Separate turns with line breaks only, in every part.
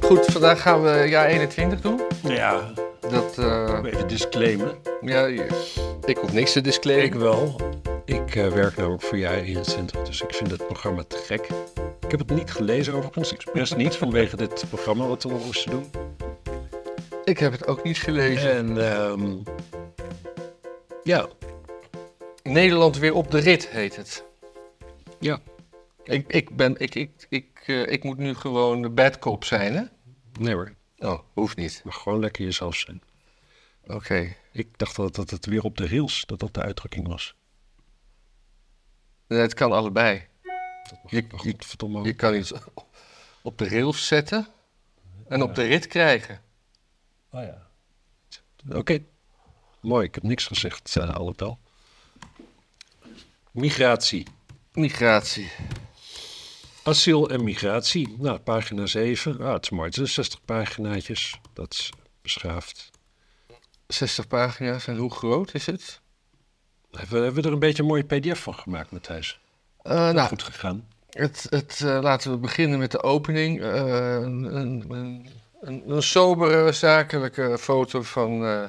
goed, vandaag gaan we jaar 21 doen.
Ja,
Dat, eh,
even disclaimen.
ja, ik hoef niks te disclaimen.
Ik wel. Ik eh, werk namelijk voor jaar 21, dus ik vind het programma te gek. Ik heb het niet gelezen overigens, expres niet, vanwege dit programma wat we moesten doen.
Ik heb het ook niet gelezen.
En ehm, ja,
Nederland weer op de rit heet het.
ja,
Ik, ik, ben, ik, ik, ik, eh, ik moet nu gewoon de bad cop zijn, hè?
nee hoor,
Oh, hoeft niet.
mag gewoon lekker jezelf zijn.
Oké.
Ik dacht dat, dat het weer op de rails, dat dat de uitdrukking was.
Nee, Het kan allebei.
Dat mag
Je-
maar
je-
godverdomme ook.
Je kan iets op de rails zetten en op de rit krijgen.
Oh ja. Oké. Mooi, ik heb niks gezegd, uh, alhoewel. Migratie.
Migratie.
Asiel en migratie. Nou, pagina 7. Ah, het is mooi. Het zijn 60 paginaatjes. Dat is beschaafd.
60 pagina's en hoe groot is het?
Hebben we, hebben we er een beetje een mooie pdf van gemaakt, Matthijs?
Eh, nou,
Goed gegaan.
Het, het, eh, laten we beginnen met de opening. Eh, een, een, een- een, een sobere, zakelijke foto van eh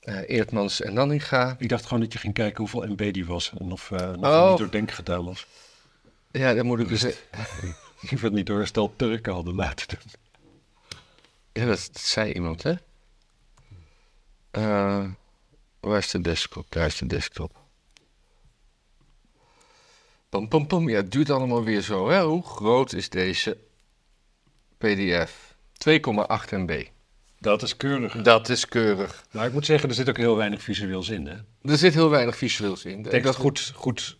eh, Eertmans en Nanninga.
Ik dacht gewoon dat je ging kijken hoeveel MB die was. En of eh nog
Oh.
niet door denkgeduil was.
Ja, dat moet ik dus...
Ik vind het niet door een stel Turken hadden laten doen.
Ja, dat, dat zei iemand, hè? Eh, waar is de desktop? Daar is de desktop. Pam, pam, pam. Ja, het duurt allemaal weer zo, hè? Hoe groot is deze pdf? 2,8 MB.
Dat is keurig.
Dat is keurig.
Maar ik moet zeggen, er zit ook heel weinig visueels in, hè?
Er zit heel weinig visueels in.
Ik denk dat goed, goed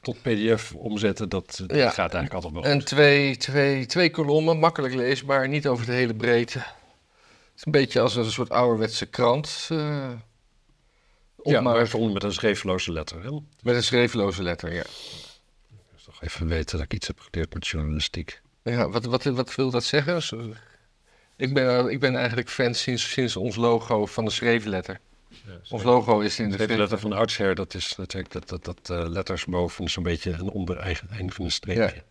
tot pdf omzetten, dat eh,
Ja.
gaat eigenlijk altijd wel.
En twee, twee, twee kolommen, makkelijk leesbaar, niet over de hele breedte. Het is een beetje als een soort ouderwetse krant. eh
ja,
opmaak.
maar zonder met een scheefloze letter. Hè?
Met een schreefloze letter, ja.
Dus toch even weten dat ik iets heb geleerd met journalistiek.
ja wat, wat, wat wil dat zeggen? Zo- Ik ben, eh, ik ben eigenlijk fan sinds, sinds ons logo van de schreefletter. ons logo is in de
De
schreefletter.
letter van oudsher, dat is natuurlijk dat, dat, dat eh, letters boven zo'n beetje een onder eigen einde van een streepje.
Ja.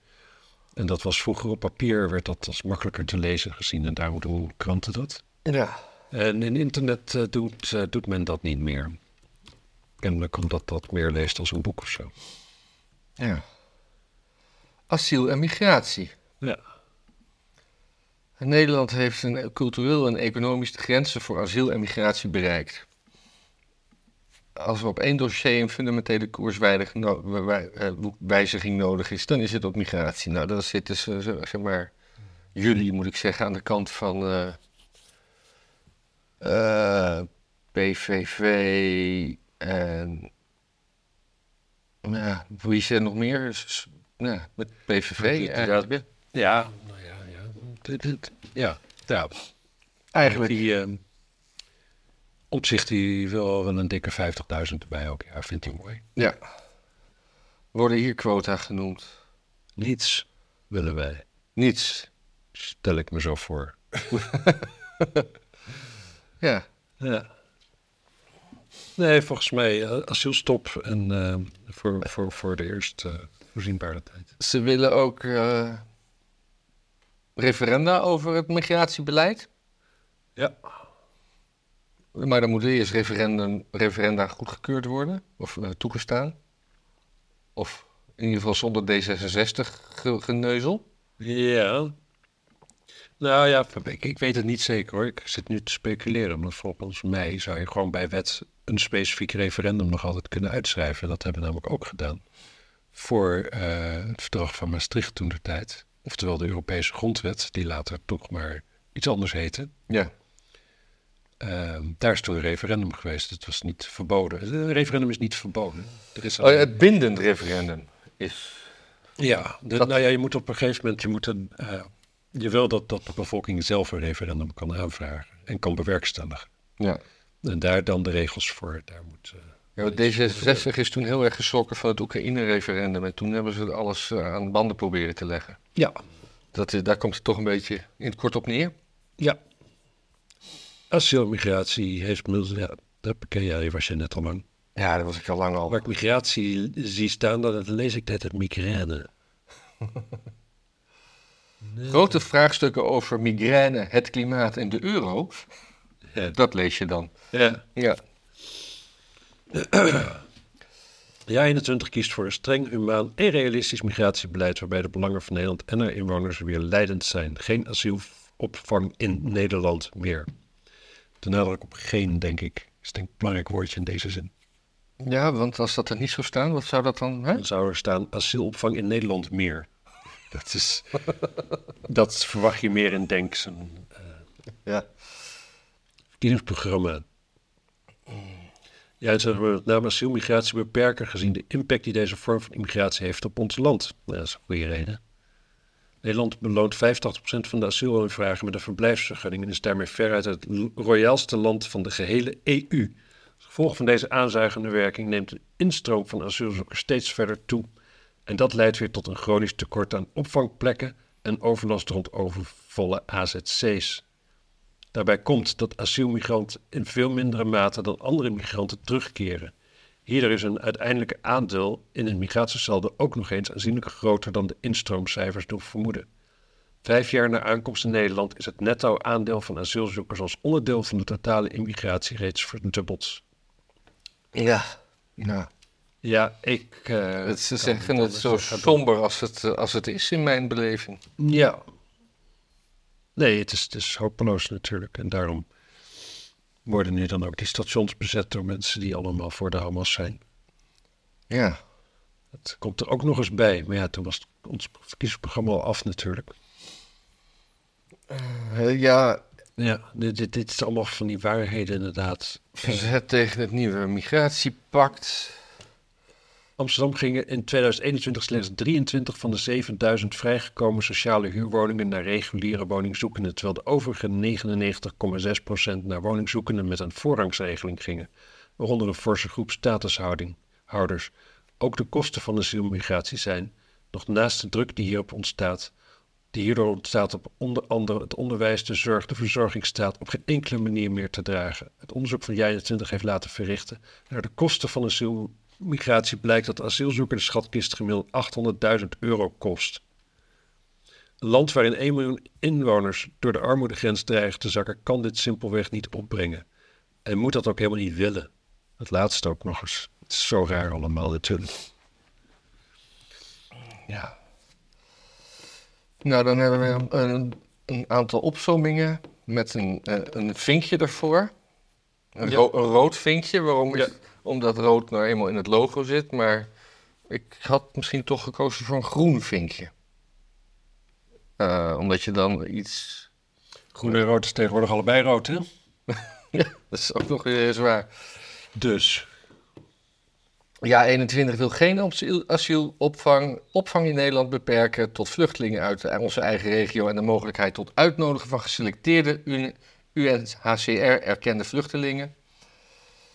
En dat was vroeger op papier, werd dat als makkelijker te lezen gezien. En daarom doen kranten dat.
Ja.
En in internet eh, doet, eh, doet men dat niet meer. Kennelijk omdat dat meer leest als een boek of zo.
ja. Asiel en migratie.
Ja.
Nederland heeft een cultureel en economisch de grenzen voor asiel en migratie bereikt. Als er op één dossier een fundamentele koerswijziging no- wij- eh, wijziging nodig is, dan is het op migratie. Nou, dan zitten ze, ze- zeg maar, jullie moet ik zeggen, aan de kant van eh, eh, PVV en. Ja, wie zijn nog meer? S- s- Ja, met PVV
Ja.
eigenlijk.
Ja, nou ja, ja. Dit- dit- Ja, ja.
Eigenlijk.
Die ehm, opzicht die wil wel een dikke 50.000 erbij ook. Ja, vindt hij mooi.
Ja. Worden hier quota genoemd?
Niets willen wij,
Niets.
stel ik me zo voor.
Ja.
Ja. Nee, volgens mij eh, asielstop en ehm, voor, voor, voor de eerst eh, voorzienbare tijd.
Ze willen ook eh, referenda over het migratiebeleid.
Ja.
Maar dan moeten eerst referendum, referenda goedgekeurd worden of eh, toegestaan. Of in ieder geval zonder D66 ge- geneuzel.
Ja. Nou ja, ik, ik weet het niet zeker hoor. Ik zit nu te speculeren. Maar volgens mij zou je gewoon bij wet een specifiek referendum nog altijd kunnen uitschrijven. Dat hebben we namelijk ook gedaan. Voor eh, het verdrag van Maastricht toen de tijd. Oftewel de Europese grondwet, die later toch maar iets anders heette.
Ja.
Ehm, daar is toen een referendum geweest. Het was niet verboden. Een referendum is niet verboden. Er is
Oh, ja,
alleen-
het bindend referendum is.
Ja, de- nou ja, je moet op een gegeven moment, je, moet een, eh, je wil dat, dat de bevolking zelf een referendum kan aanvragen en kan bewerkstelligen.
Ja.
En daar dan de regels voor. Daar moet, eh,
Ja, want D66 is toen heel erg geschrokken van het Oekraïne-referendum. En toen hebben ze alles eh, aan banden proberen te leggen.
ja,
Dat, eh, daar komt het toch een beetje in het kort op neer.
ja. Asiel en migratie heeft... mil- Ja, dat ken jij, die was je net al lang.
Ja, dat was ik al lang al.
Waar ik migratie zie staan, dan lees ik dat het migraine.
Grote vraagstukken over migraine, het klimaat en de euro,
Ja.
dat lees je dan.
Ja.
Ja,
Ja, 21 kiest voor een streng, humaan en realistisch migratiebeleid waarbij de belangen van Nederland en haar inwoners weer leidend zijn. Geen asielopvang in Nederland meer. De nadruk op geen, denk ik, is denk ik een belangrijk woordje in deze zin.
ja want als dat er niet zou staan, wat zou dat dan... Hè?
Dan zou er staan asielopvang in Nederland meer. Dat is, dat verwacht je meer in Denk. Een
Ja.
verkiezingsprogramma. Ja, het zou met name asielmigratie beperken gezien de impact die deze vorm van immigratie heeft op ons land. Nou, dat is een goede reden. Nederland beloont 85% van de asielaanvragen met een verblijfsvergunning en is daarmee veruit het lo- royaalste land van de gehele EU. Als gevolg van deze aanzuigende werking neemt de instroom van asielzoekers steeds verder toe. En dat leidt weer tot een chronisch tekort aan opvangplekken en overlast rond overvolle AZC's. Daarbij komt dat asielmigranten in veel mindere mate dan andere migranten terugkeren. Hierdoor is hun uiteindelijke aandeel in het migratiesaldo ook nog eens aanzienlijk groter dan de instroomcijfers doen vermoeden. Vijf jaar na aankomst in Nederland is het netto aandeel van asielzoekers als onderdeel van de totale immigratie reeds verdubbeld.
Ja. Nou,
Ja, ik. eh,
het, ze
kan
dus zeggen
niet
het
anders.
zo
Dat gaat
somber als het, eh, als het is in mijn beleving.
Ja. Nee, het is, het is hopeloos natuurlijk. En daarom worden nu dan ook die stations bezet door mensen die allemaal voor de Hamas zijn.
Ja.
Dat komt er ook nog eens bij. Maar ja, toen was ons verkiezingsprogramma al af natuurlijk.
Eh, ja,
Ja, dit, dit, dit is allemaal van die waarheden inderdaad.
verzet tegen het nieuwe migratiepact.
Amsterdam gingen in 2021 slechts 23 van de 7000 vrijgekomen sociale huurwoningen naar reguliere woningzoekenden, terwijl de overige 99,6% naar woningzoekenden met een voorrangsregeling gingen, waaronder een forse groep statushouders. Ook de kosten van de asielmigratie zijn, nog naast de druk die hierop ontstaat, die hierdoor ontstaat op onder andere het onderwijs, de zorg, de verzorgingsstaat op geen enkele manier meer te dragen. Het onderzoek van Jij 20 heeft laten verrichten naar de kosten van asielmigratie blijkt dat de asielzoeker de schatkist gemiddeld 800.000 euro kost. Een land waarin 1 miljoen inwoners door de armoedegrens dreigen te zakken, kan dit simpelweg niet opbrengen. En moet dat ook helemaal niet willen. Het laatste ook nog eens. Het is zo raar allemaal natuurlijk.
Ja. Nou, dan hebben we een, een, een aantal opzommingen met een, eh, een vinkje ervoor. Een,
Ja.
ro- een rood vinkje, waarom is
Ja.
het- omdat rood nou eenmaal in het logo zit, maar ik had misschien toch gekozen voor een groen vinkje. Eh, omdat je dan iets...
Groen en rood is tegenwoordig allebei rood, hè?
Ja, dat is ook nog weer zwaar.
Dus.
Ja, 21 wil geen asiel- asielopvang. Opvang in Nederland beperken tot vluchtelingen uit de- onze eigen regio en de mogelijkheid tot uitnodigen van geselecteerde UNHCR-erkende vluchtelingen.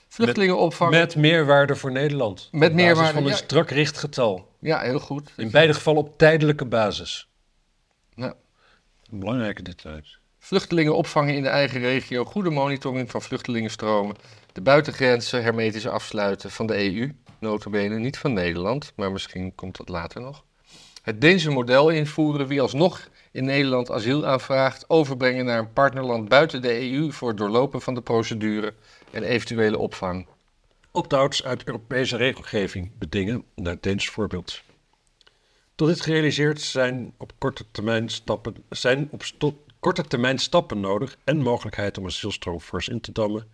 Vluchtelingenopvang.
Met meerwaarde voor Nederland.
Met
Op basis
meerwaarde,
van een
ja.
strak richtgetal.
Ja, heel goed.
In beide gevallen op tijdelijke basis.
Nou,
Een belangrijke detail.
vluchtelingen opvangen in de eigen regio. Goede monitoring van vluchtelingenstromen. De buitengrenzen hermetisch afsluiten van de EU. Notabene niet van Nederland, maar misschien komt dat later nog. Het Deense model invoeren. Wie alsnog in Nederland asiel aanvraagt, overbrengen naar een partnerland buiten de EU voor het doorlopen van de procedure en eventuele opvang.
Opt-outs uit Europese regelgeving bedingen, naar Deens voorbeeld. Tot dit gerealiseerd zijn op korte termijn stappen, zijn op sto- korte termijn stappen nodig en mogelijkheid om asielstroom fors in te dammen.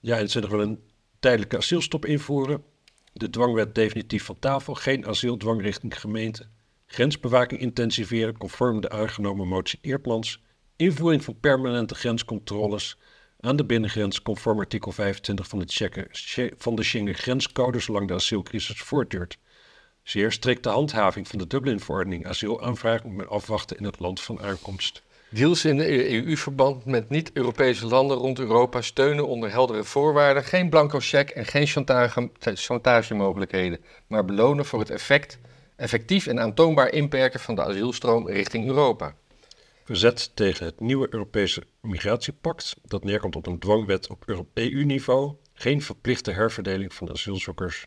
Ja, en ze willen een tijdelijke asielstop invoeren. De dwangwet definitief van tafel, geen asieldwang richting gemeente. Grensbewaking intensiveren conform de aangenomen motie Eerdmans. Invoering van permanente grenscontroles aan de binnengrens conform artikel 25 van, het Schengen- Sche- van de Schengen grenscode zolang de asielcrisis voortduurt. Zeer strikte handhaving van de Dublin-verordening asielaanvraag met afwachten in het land van aankomst.
Deals in de EU-verband met niet-Europese landen rond Europa steunen onder heldere voorwaarden. Geen blanco cheque en geen chantage, chantagemogelijkheden, maar belonen voor het effect, effectief en aantoonbaar inperken van de asielstroom richting Europa.
Verzet tegen het nieuwe Europese migratiepact, dat neerkomt op een dwangwet op Euro- EU-niveau. Geen verplichte herverdeling van asielzoekers.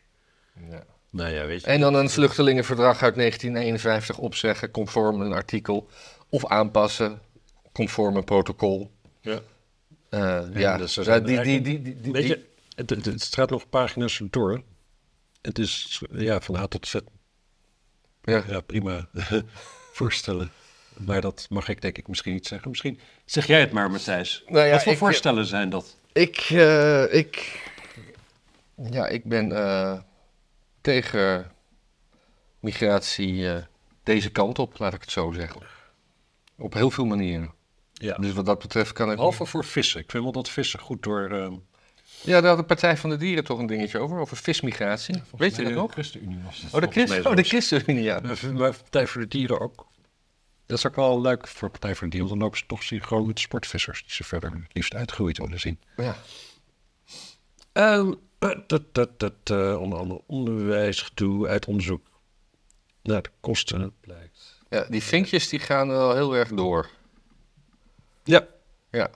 Nou ja, weet je.
En dan een vluchtelingenverdrag uit 1951 opzeggen conform een artikel of aanpassen conform een protocol.
Ja.
Eh,
Ja,
ja,
dus er
ja
zijn
die, die,
eigenlijk-
die, die, die-
Weet
die-
je, het, het, het straat nog pagina's door. Het is ja, van A tot Z
ja.
ja, prima voorstellen. Maar dat mag ik denk ik misschien niet zeggen. Misschien zeg jij het maar, Matthijs.
Nou ja,
Wat voor
ik-
voorstellen zijn dat?
Ik, eh, ik, ja, ik ben eh, tegen migratie eh, deze kant op, laat ik het zo zeggen. Op heel veel manieren.
Ja.
Dus wat dat betreft kan ik...
Behalve voor vissen. Ik vind wel dat vissen goed door... ehm,
Ja, daar had de Partij van de Dieren toch een dingetje over, over vismigratie. Weet je
mij
dat
de
nog?
ChristenUnie was het.
Oh, de,
volgens mij
Christen, oh, de
zelfs.
ChristenUnie, ja.
Maar v- Maar Partij voor de Dieren ook. Dat is ook wel leuk voor Partij voor de Dieren. Want dan lopen ze toch synchroon met sportvissers. Die ze verder het liefst uitgroeid willen zien.
ja.
Ehm, eh, dat, dat, dat, eh, onder andere onderwijsgedoe uit onderzoek naar de kosten blijkt.
Ja, die vinkjes die gaan wel heel erg door.
Ja,
Ja,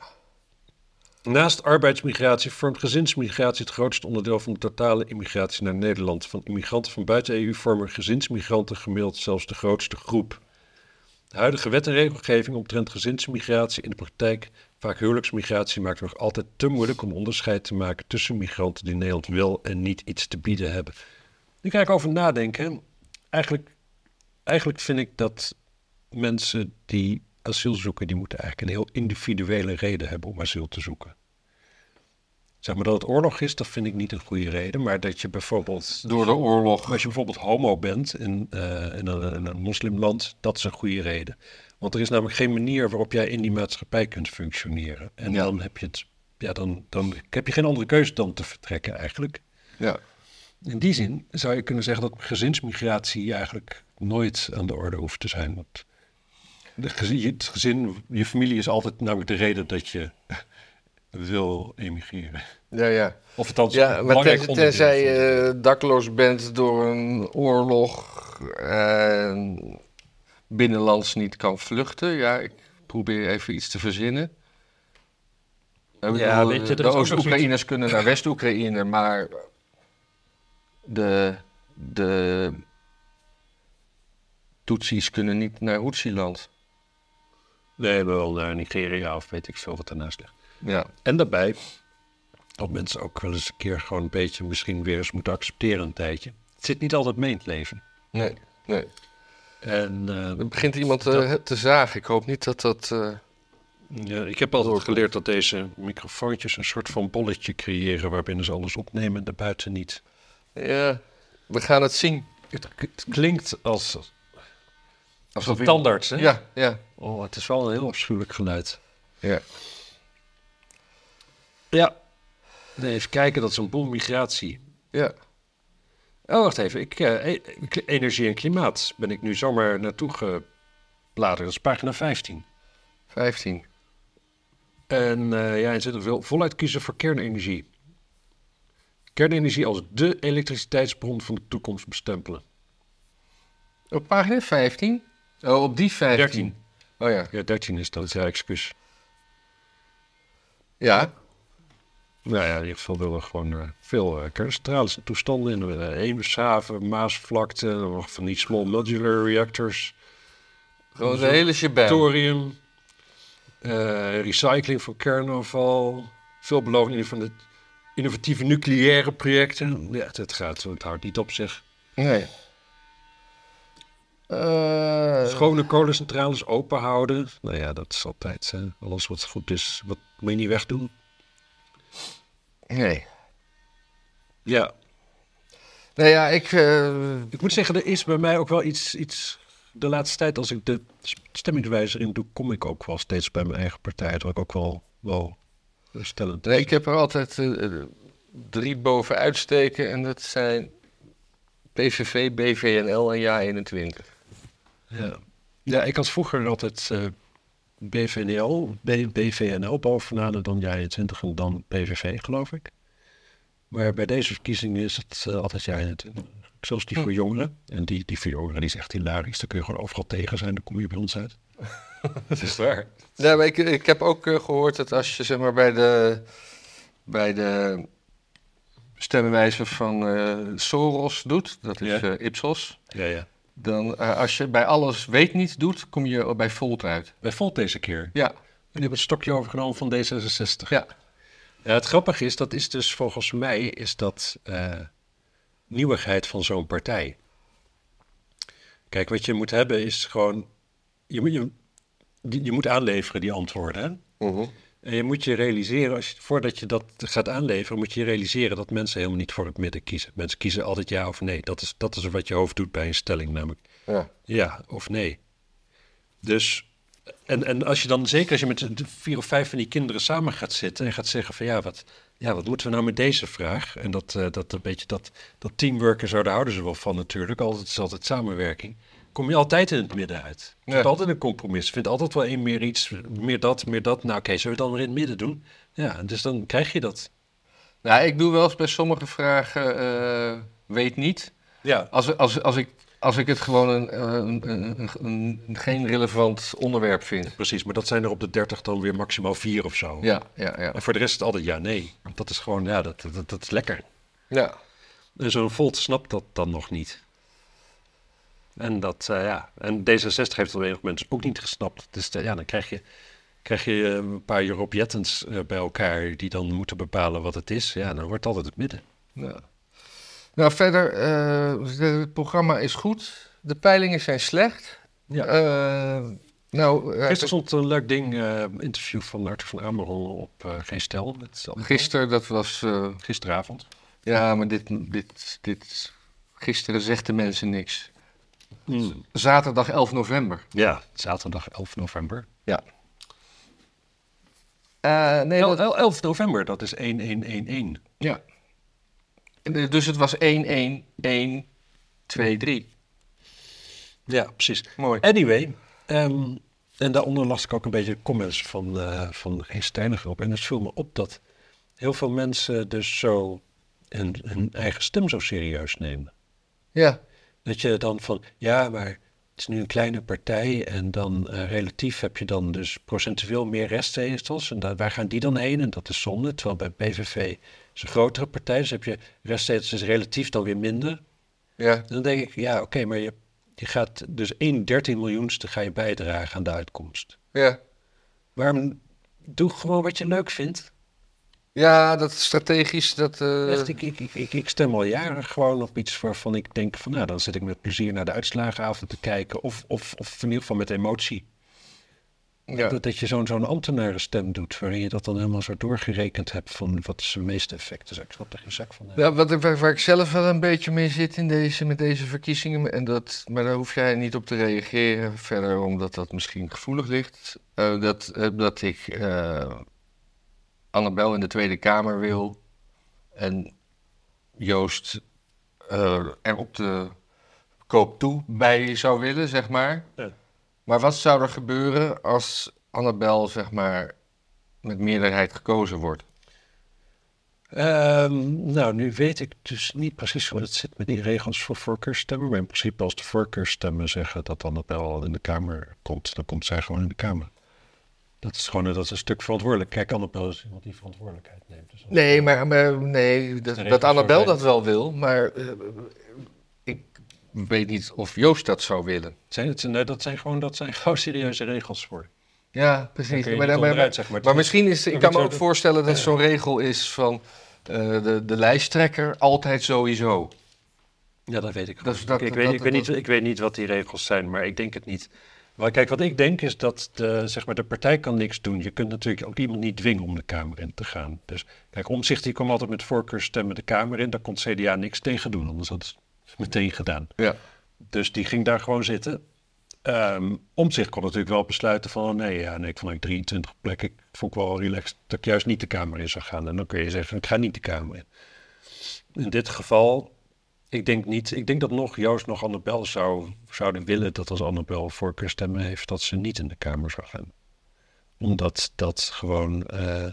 naast arbeidsmigratie vormt gezinsmigratie het grootste onderdeel van de totale immigratie naar Nederland. Van immigranten van buiten de EU vormen gezinsmigranten gemiddeld zelfs de grootste groep. De huidige wet en regelgeving omtrent gezinsmigratie in de praktijk, vaak huwelijksmigratie, maakt het nog altijd te moeilijk om onderscheid te maken tussen migranten die Nederland wel en niet iets te bieden hebben. Nu kan ik over nadenken. Eigenlijk, eigenlijk vind ik dat mensen die asiel zoeken, die moeten eigenlijk een heel individuele reden hebben om asiel te zoeken. Zeg maar dat het oorlog is, dat vind ik niet een goede reden. Maar dat je bijvoorbeeld
door de oorlog.
als je bijvoorbeeld homo bent in, eh, in, een, in een moslimland, dat is een goede reden. Want er is namelijk geen manier waarop jij in die maatschappij kunt functioneren. En
Ja.
dan heb je het. Ja, dan, dan heb je geen andere keuze dan te vertrekken eigenlijk.
Ja.
In die zin zou je kunnen zeggen dat gezinsmigratie eigenlijk nooit aan de orde hoeft te zijn. Want de gezin, je- het gezin, je familie is altijd namelijk de reden dat je wil emigreren.
Ja, ja.
Of althans,
Ja,
een
maar
belangrijk
ten-
onderdeel
tenzij eh,
van-
je dakloos bent door een oorlog en binnenlands niet kan vluchten. Ja, ik probeer even iets te verzinnen. Ik bedoel,
weet je, er
de
is ook
Oost-Oekraïners kunnen naar West-Oekraïne, maar de, de Tutsis kunnen niet naar Hoetsiland.
Nee, maar wel naar Nigeria of weet ik veel wat daarnaast ligt.
Ja,
En daarbij dat mensen ook wel eens een keer gewoon een beetje misschien weer eens moeten accepteren een tijdje. Het zit niet altijd mee in het leven.
nee, nee.
En eh,
Er begint iemand eh, te zagen. Ik hoop niet dat dat... eh,
ja, ik heb altijd geleerd dat deze microfoontjes een soort van bolletje creëren waarbinnen ze alles opnemen en daarbuiten niet.
ja, we gaan het zien.
Het, het klinkt als
Als
een tandarts, hè?
Ja, ja.
Oh, het is wel een heel afschuwelijk geluid.
Ja.
Ja. Nee, even kijken, dat is een boel migratie.
Ja.
Oh, wacht even. Ik, eh, e- kli- energie en klimaat ben ik nu zomaar naartoe gebladerd. Dat is pagina 15.
15.
En eh, ja, en zit er wil voluit kiezen voor kernenergie. Kernenergie als dé elektriciteitsbron van de toekomst bestempelen.
Op pagina 15? Oh, op die 15.
13.
Oh ja.
Ja, 13 is dat. Ja, excuus.
Ja.
Nou ja, in ieder geval willen we gewoon eh, veel eh, kerncentrales en toestanden in de Eemshaven, Maasvlakte, nog van die small modular reactors.
Gewoon de hele shebang.
thorium, eh, recycling van kernafval, veelbelovende van de innovatieve nucleaire projecten. Ja, het gaat, het houdt niet op zich.
Nee. Eh,
Schone kolencentrales open houden. Nou ja, dat is altijd eh, alles wat goed is. Wat moet je niet wegdoen?
nee.
Ja.
Nou ja, ik... eh,
Ik moet zeggen, er is bij mij ook wel iets, iets de laatste tijd, als ik de stemmingswijzer in doe, kom ik ook wel steeds bij mijn eigen partij. Dat ik ook wel, wel stellend.
nee, ik heb er altijd eh, eh, drie boven uitsteken. En dat zijn PVV, BVNL en JA21.
Ja. ja, ik had vroeger altijd eh BVNL, B- BVNL bovenaan en dan jij 20 en dan PVV, geloof ik. Maar bij deze verkiezingen is het eh, altijd jij 20. Zelfs die voor jongeren. En die, die voor jongeren die is echt hilarisch. Daar kun je gewoon overal tegen zijn, dan kom je bij ons uit.
Dat is waar. Ja, maar ik, ik heb ook eh, gehoord dat als je zeg maar, bij de, bij de stemwijzer van eh, Soros doet, dat is
Ja.
eh, Ipsos,
Ja, ja.
Dan, eh, als je bij alles weet niet doet, kom je bij Volt uit.
Bij Volt deze keer.
Ja,
En die hebben het stokje overgenomen van D66.
ja.
Ja, het grappige is, dat is dus volgens mij is dat eh, nieuwigheid van zo'n partij. Kijk, wat je moet hebben is gewoon, je moet, je, die- je moet aanleveren die antwoorden. Hè?
Mhm,
En je moet je realiseren, als je, voordat je dat gaat aanleveren, moet je je realiseren dat mensen helemaal niet voor het midden kiezen. Mensen kiezen altijd ja of nee. Dat is, dat is wat je hoofd doet bij een stelling namelijk.
ja.
Ja of nee. Dus, en, en als je dan, zeker als je met de vier of vijf van die kinderen samen gaat zitten en gaat zeggen van ja, wat, ja, wat moeten we nou met deze vraag? En dat, eh, dat, een beetje dat, dat teamwork en zo, daar houden ze wel van natuurlijk. Altijd het is altijd samenwerking. Kom je altijd in het midden uit. Je
Ja.
hebt altijd een compromis. Je vindt altijd wel één meer iets, meer dat, meer dat. Nou oké, zullen we het dan weer in het midden doen? Ja, dus dan krijg je dat.
Nou, ik doe wel eens bij sommige vragen, eh, weet niet.
Ja,
Als, als, als, ik, als ik het gewoon een, eh, een, een, een- een- geen relevant onderwerp vind.
precies. Maar dat zijn er op de dertig dan weer maximaal vier of zo.
Ja, ja, ja.
En voor de rest is het altijd ja, nee. Dat is gewoon, ja, dat, dat, dat is lekker.
ja.
En zo'n Volt snapt dat dan nog niet. En dat, eh, ja. En D66 heeft dat weinig mensen ook niet gesnapt. Dus eh, ja, dan krijg je, krijg je eh, een paar Job Jettens eh, bij elkaar die dan moeten bepalen wat het is. Ja, dan wordt het altijd het midden.
Ja. Nou, verder, eh, het programma is goed. De peilingen zijn slecht.
Ja.
Eh, nou, eh,
Gisteren stond een leuk ding, eh, interview van Arthur van Ameron op eh, Geen Stel. Met
gisteren, dat was... eh,
Gisteravond.
ja, maar dit, dit, dit... Gisteren zegt de mensen niks. Zaterdag 11 november.
Ja, Dus, zaterdag 11 november.
Ja. Eh, nee,
El-
dat,
el- 11 november, dat is 1111.
ja. En, eh, Dus het was 1, 1, 1, 2, 3.
Ja, precies.
Mooi.
Anyway, ehm, en daaronder las ik ook een beetje comments van, eh van Geen Steiniger op. En het viel me op dat heel veel mensen dus zo hun, hun eigen stem zo serieus nemen.
Ja.
Dat je dan van, ja, maar het is nu een kleine partij en dan eh, relatief heb je dan dus procentueel meer restzetels. En daar, waar gaan die dan heen? En dat is zonde. Terwijl bij PVV is een grotere partij, dus heb je restzetels is relatief dan weer minder.
Ja.
Dan denk ik, ja, oké, maar je, je gaat dus 1 13 miljoenste ga je bijdragen aan de uitkomst.
Ja.
Waarom doe gewoon wat je leuk vindt?
Ja, dat strategisch, dat... eh,
Echt, ik, ik, ik- ik, ik stem al jaren gewoon op iets waarvan ik denk van, nou, dan zit ik met plezier naar de uitslagenavond te kijken. Of, of, of in ieder geval met emotie.
ja.
Dat, dat je zo'n zo'n ambtenarenstem doet, waarin je dat dan helemaal zo doorgerekend hebt van wat is de meeste effect. Dus ik snap er geen zak van.
Ja, wat, ik- waar, waar ik zelf wel een beetje mee zit in deze, met deze verkiezingen, en dat, maar daar hoef jij niet op te reageren verder, omdat dat misschien gevoelig ligt, eh, dat, eh, dat ik eh, Annabel in de Tweede Kamer wil en Joost eh, er op de koop toe bij zou willen, zeg maar.
Ja.
Maar wat zou er gebeuren als Annabel, zeg maar, met meerderheid gekozen wordt?
Ehm, nou, nu weet ik dus niet precies hoe het zit met die regels voor voorkeurstemmen. Maar in principe als de voorkeurstemmen zeggen dat dan het wel in de Kamer komt, dan komt zij gewoon in de Kamer. Dat is gewoon dat is een stuk verantwoordelijk. Kijk, Annabel is iemand die verantwoordelijkheid neemt. Dus dat-
Nee, maar, maar nee,
de
dat,
regel
dat Annabel
voorbij.
dat wel wil, maar eh, ik weet niet of Joost dat zou willen.
Zijn het, nee, dat, zijn gewoon, dat zijn gewoon serieuze regels voor.
Ja,
Daar
precies.
kun
Maar,
je niet
maar, maar-
onderuit, zeg maar.
maar misschien is, ik
Dan
kan me
wordt
ook
zo-
voorstellen dat zo'n regel is van eh, de, de lijsttrekker altijd sowieso.
Ja, dat weet ik
Dat
gewoon.
is-
niet.
dat-
ik,
dat-
weet,
dat-
ik, weet niet,
dat-
ik weet niet wat die regels zijn, maar ik denk het niet. Maar kijk, wat ik denk is dat de, zeg maar, de partij kan niks doen. Je kunt natuurlijk ook iemand niet dwingen om de Kamer in te gaan. Dus kijk, Omzicht die kwam altijd met voorkeurstemmen de Kamer in. Daar kon het CDA niks tegen doen, anders had het meteen gedaan.
Ja.
Dus die ging daar gewoon zitten. Ehm, om zich kon natuurlijk wel besluiten van... oh nee, ja, nee, ik vond ik 23 plekken. Ik vond ik wel relaxed dat ik juist niet de Kamer in zou gaan. En dan kun je zeggen, ik ga niet de Kamer in. In dit geval, ik denk niet... Ik denk dat nog Joost nog Annabel zou, zouden willen... dat als Annabel voorkeurstemmen heeft... dat ze niet in de Kamer zou gaan. Omdat dat gewoon... eh,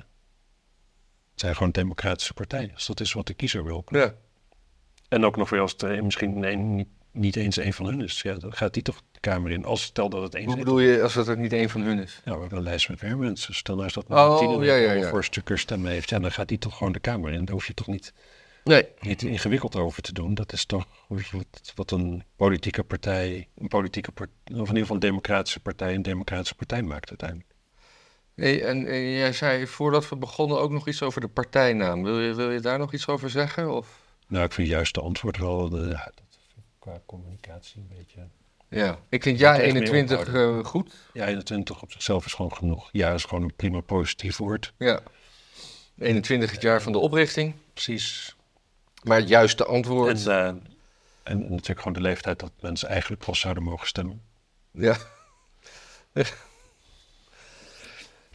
het zijn gewoon democratische partijen. Dus dat is wat de kiezer wil.
ja.
En ook nog weer als het er misschien een- niet, niet eens een van hun is. Ja, dan gaat die toch de Kamer in. Als stel dat het
Hoe
eens is.
bedoel je als dat er niet één van hun is?
Ja, we hebben een lijst met meer mensen. Stel nou is dat Martine
Oh,
die
ja, ja,
al
ja.
voor stukken stemmen heeft. Ja, dan gaat die toch gewoon de Kamer in. Dan hoef je toch niet
Nee,
niet ingewikkeld over te doen. Dat is toch wat, wat een politieke partij, een politieke part- of in ieder geval een democratische partij, een democratische partij maakt uiteindelijk.
nee en, en jij zei voordat we begonnen ook nog iets over de partijnaam. Wil je, wil je daar nog iets over zeggen? Of?
Nou, ik vind juist de antwoord wel eh, ja, dat vind ik qua communicatie een beetje.
Ja, ik vind
Dat
ja
echt meer
21 eh, goed.
Ja, 21 op zichzelf is gewoon genoeg. Ja, is gewoon een prima positief woord.
Ja. 21 het jaar van de oprichting.
Precies.
Maar het juiste
En,
antwoord.
eh, en, en natuurlijk gewoon de leeftijd dat mensen eigenlijk pas zouden mogen stemmen.
Ja.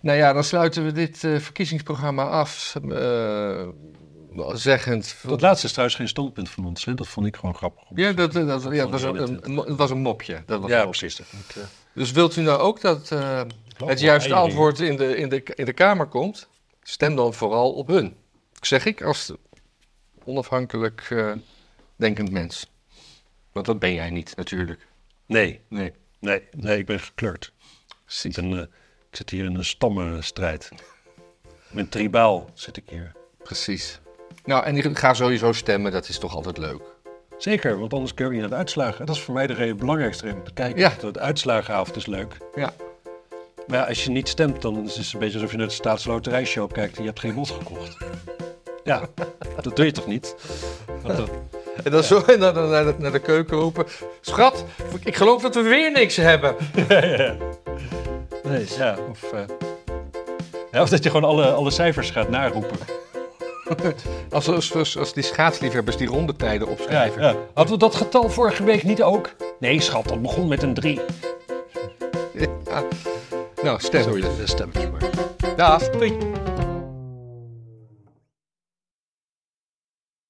nou ja, dan sluiten we dit eh, verkiezingsprogramma af. eh, zeggend.
Dat laatste is trouwens geen standpunt van ons. Hè? Dat vond ik gewoon grappig. om
Ja,
te
dat, eh, dat, ja, het was een, een, een- het was een mopje. Dat was
zeggen. ja,
een mopje.
precies. Dat moet, eh,
Dus wilt u nou ook dat eh,
wel
het juiste
eieren.
antwoord in de, in, de, in de Kamer komt? Stem dan vooral op hun. Zeg ik als onafhankelijk eh, denkend mens. Want dat ben jij niet, natuurlijk.
Nee,
Nee.
nee, nee, ik ben gekleurd. Ik,
Precies.
ben, eh, ik zit hier in een stammenstrijd. Met tribaal zit ik hier.
Precies. Nou, en ga sowieso stemmen, dat is toch altijd leuk.
Zeker, want anders kun je ook niet naar de uitslagen. Dat is voor mij de reden, belangrijkste reden om te kijken.
Ja.
Dat de uitslagenavond is leuk.
Ja.
Maar ja, als je niet stemt, dan is het een beetje alsof je naar de staatsloterijshow kijkt en je hebt geen lot gekocht. Ja, dat doe je toch niet? Want dat-
En dan zo en dan, dan naar, de, naar de keuken roepen. Schat, ik geloof dat we weer niks hebben.
nee, ja, of, eh, ja, of dat je gewoon alle, alle cijfers gaat naroepen.
Als, als, als, als die schaatsliefhebbers die rondetijden
Ja,
opschrijven.
ja. Hadden we dat getal vorige week niet ook? Nee, schat, dat begon met een 3.
Nou, stem.
de stemmers maar.
Nou, Daag. Doei.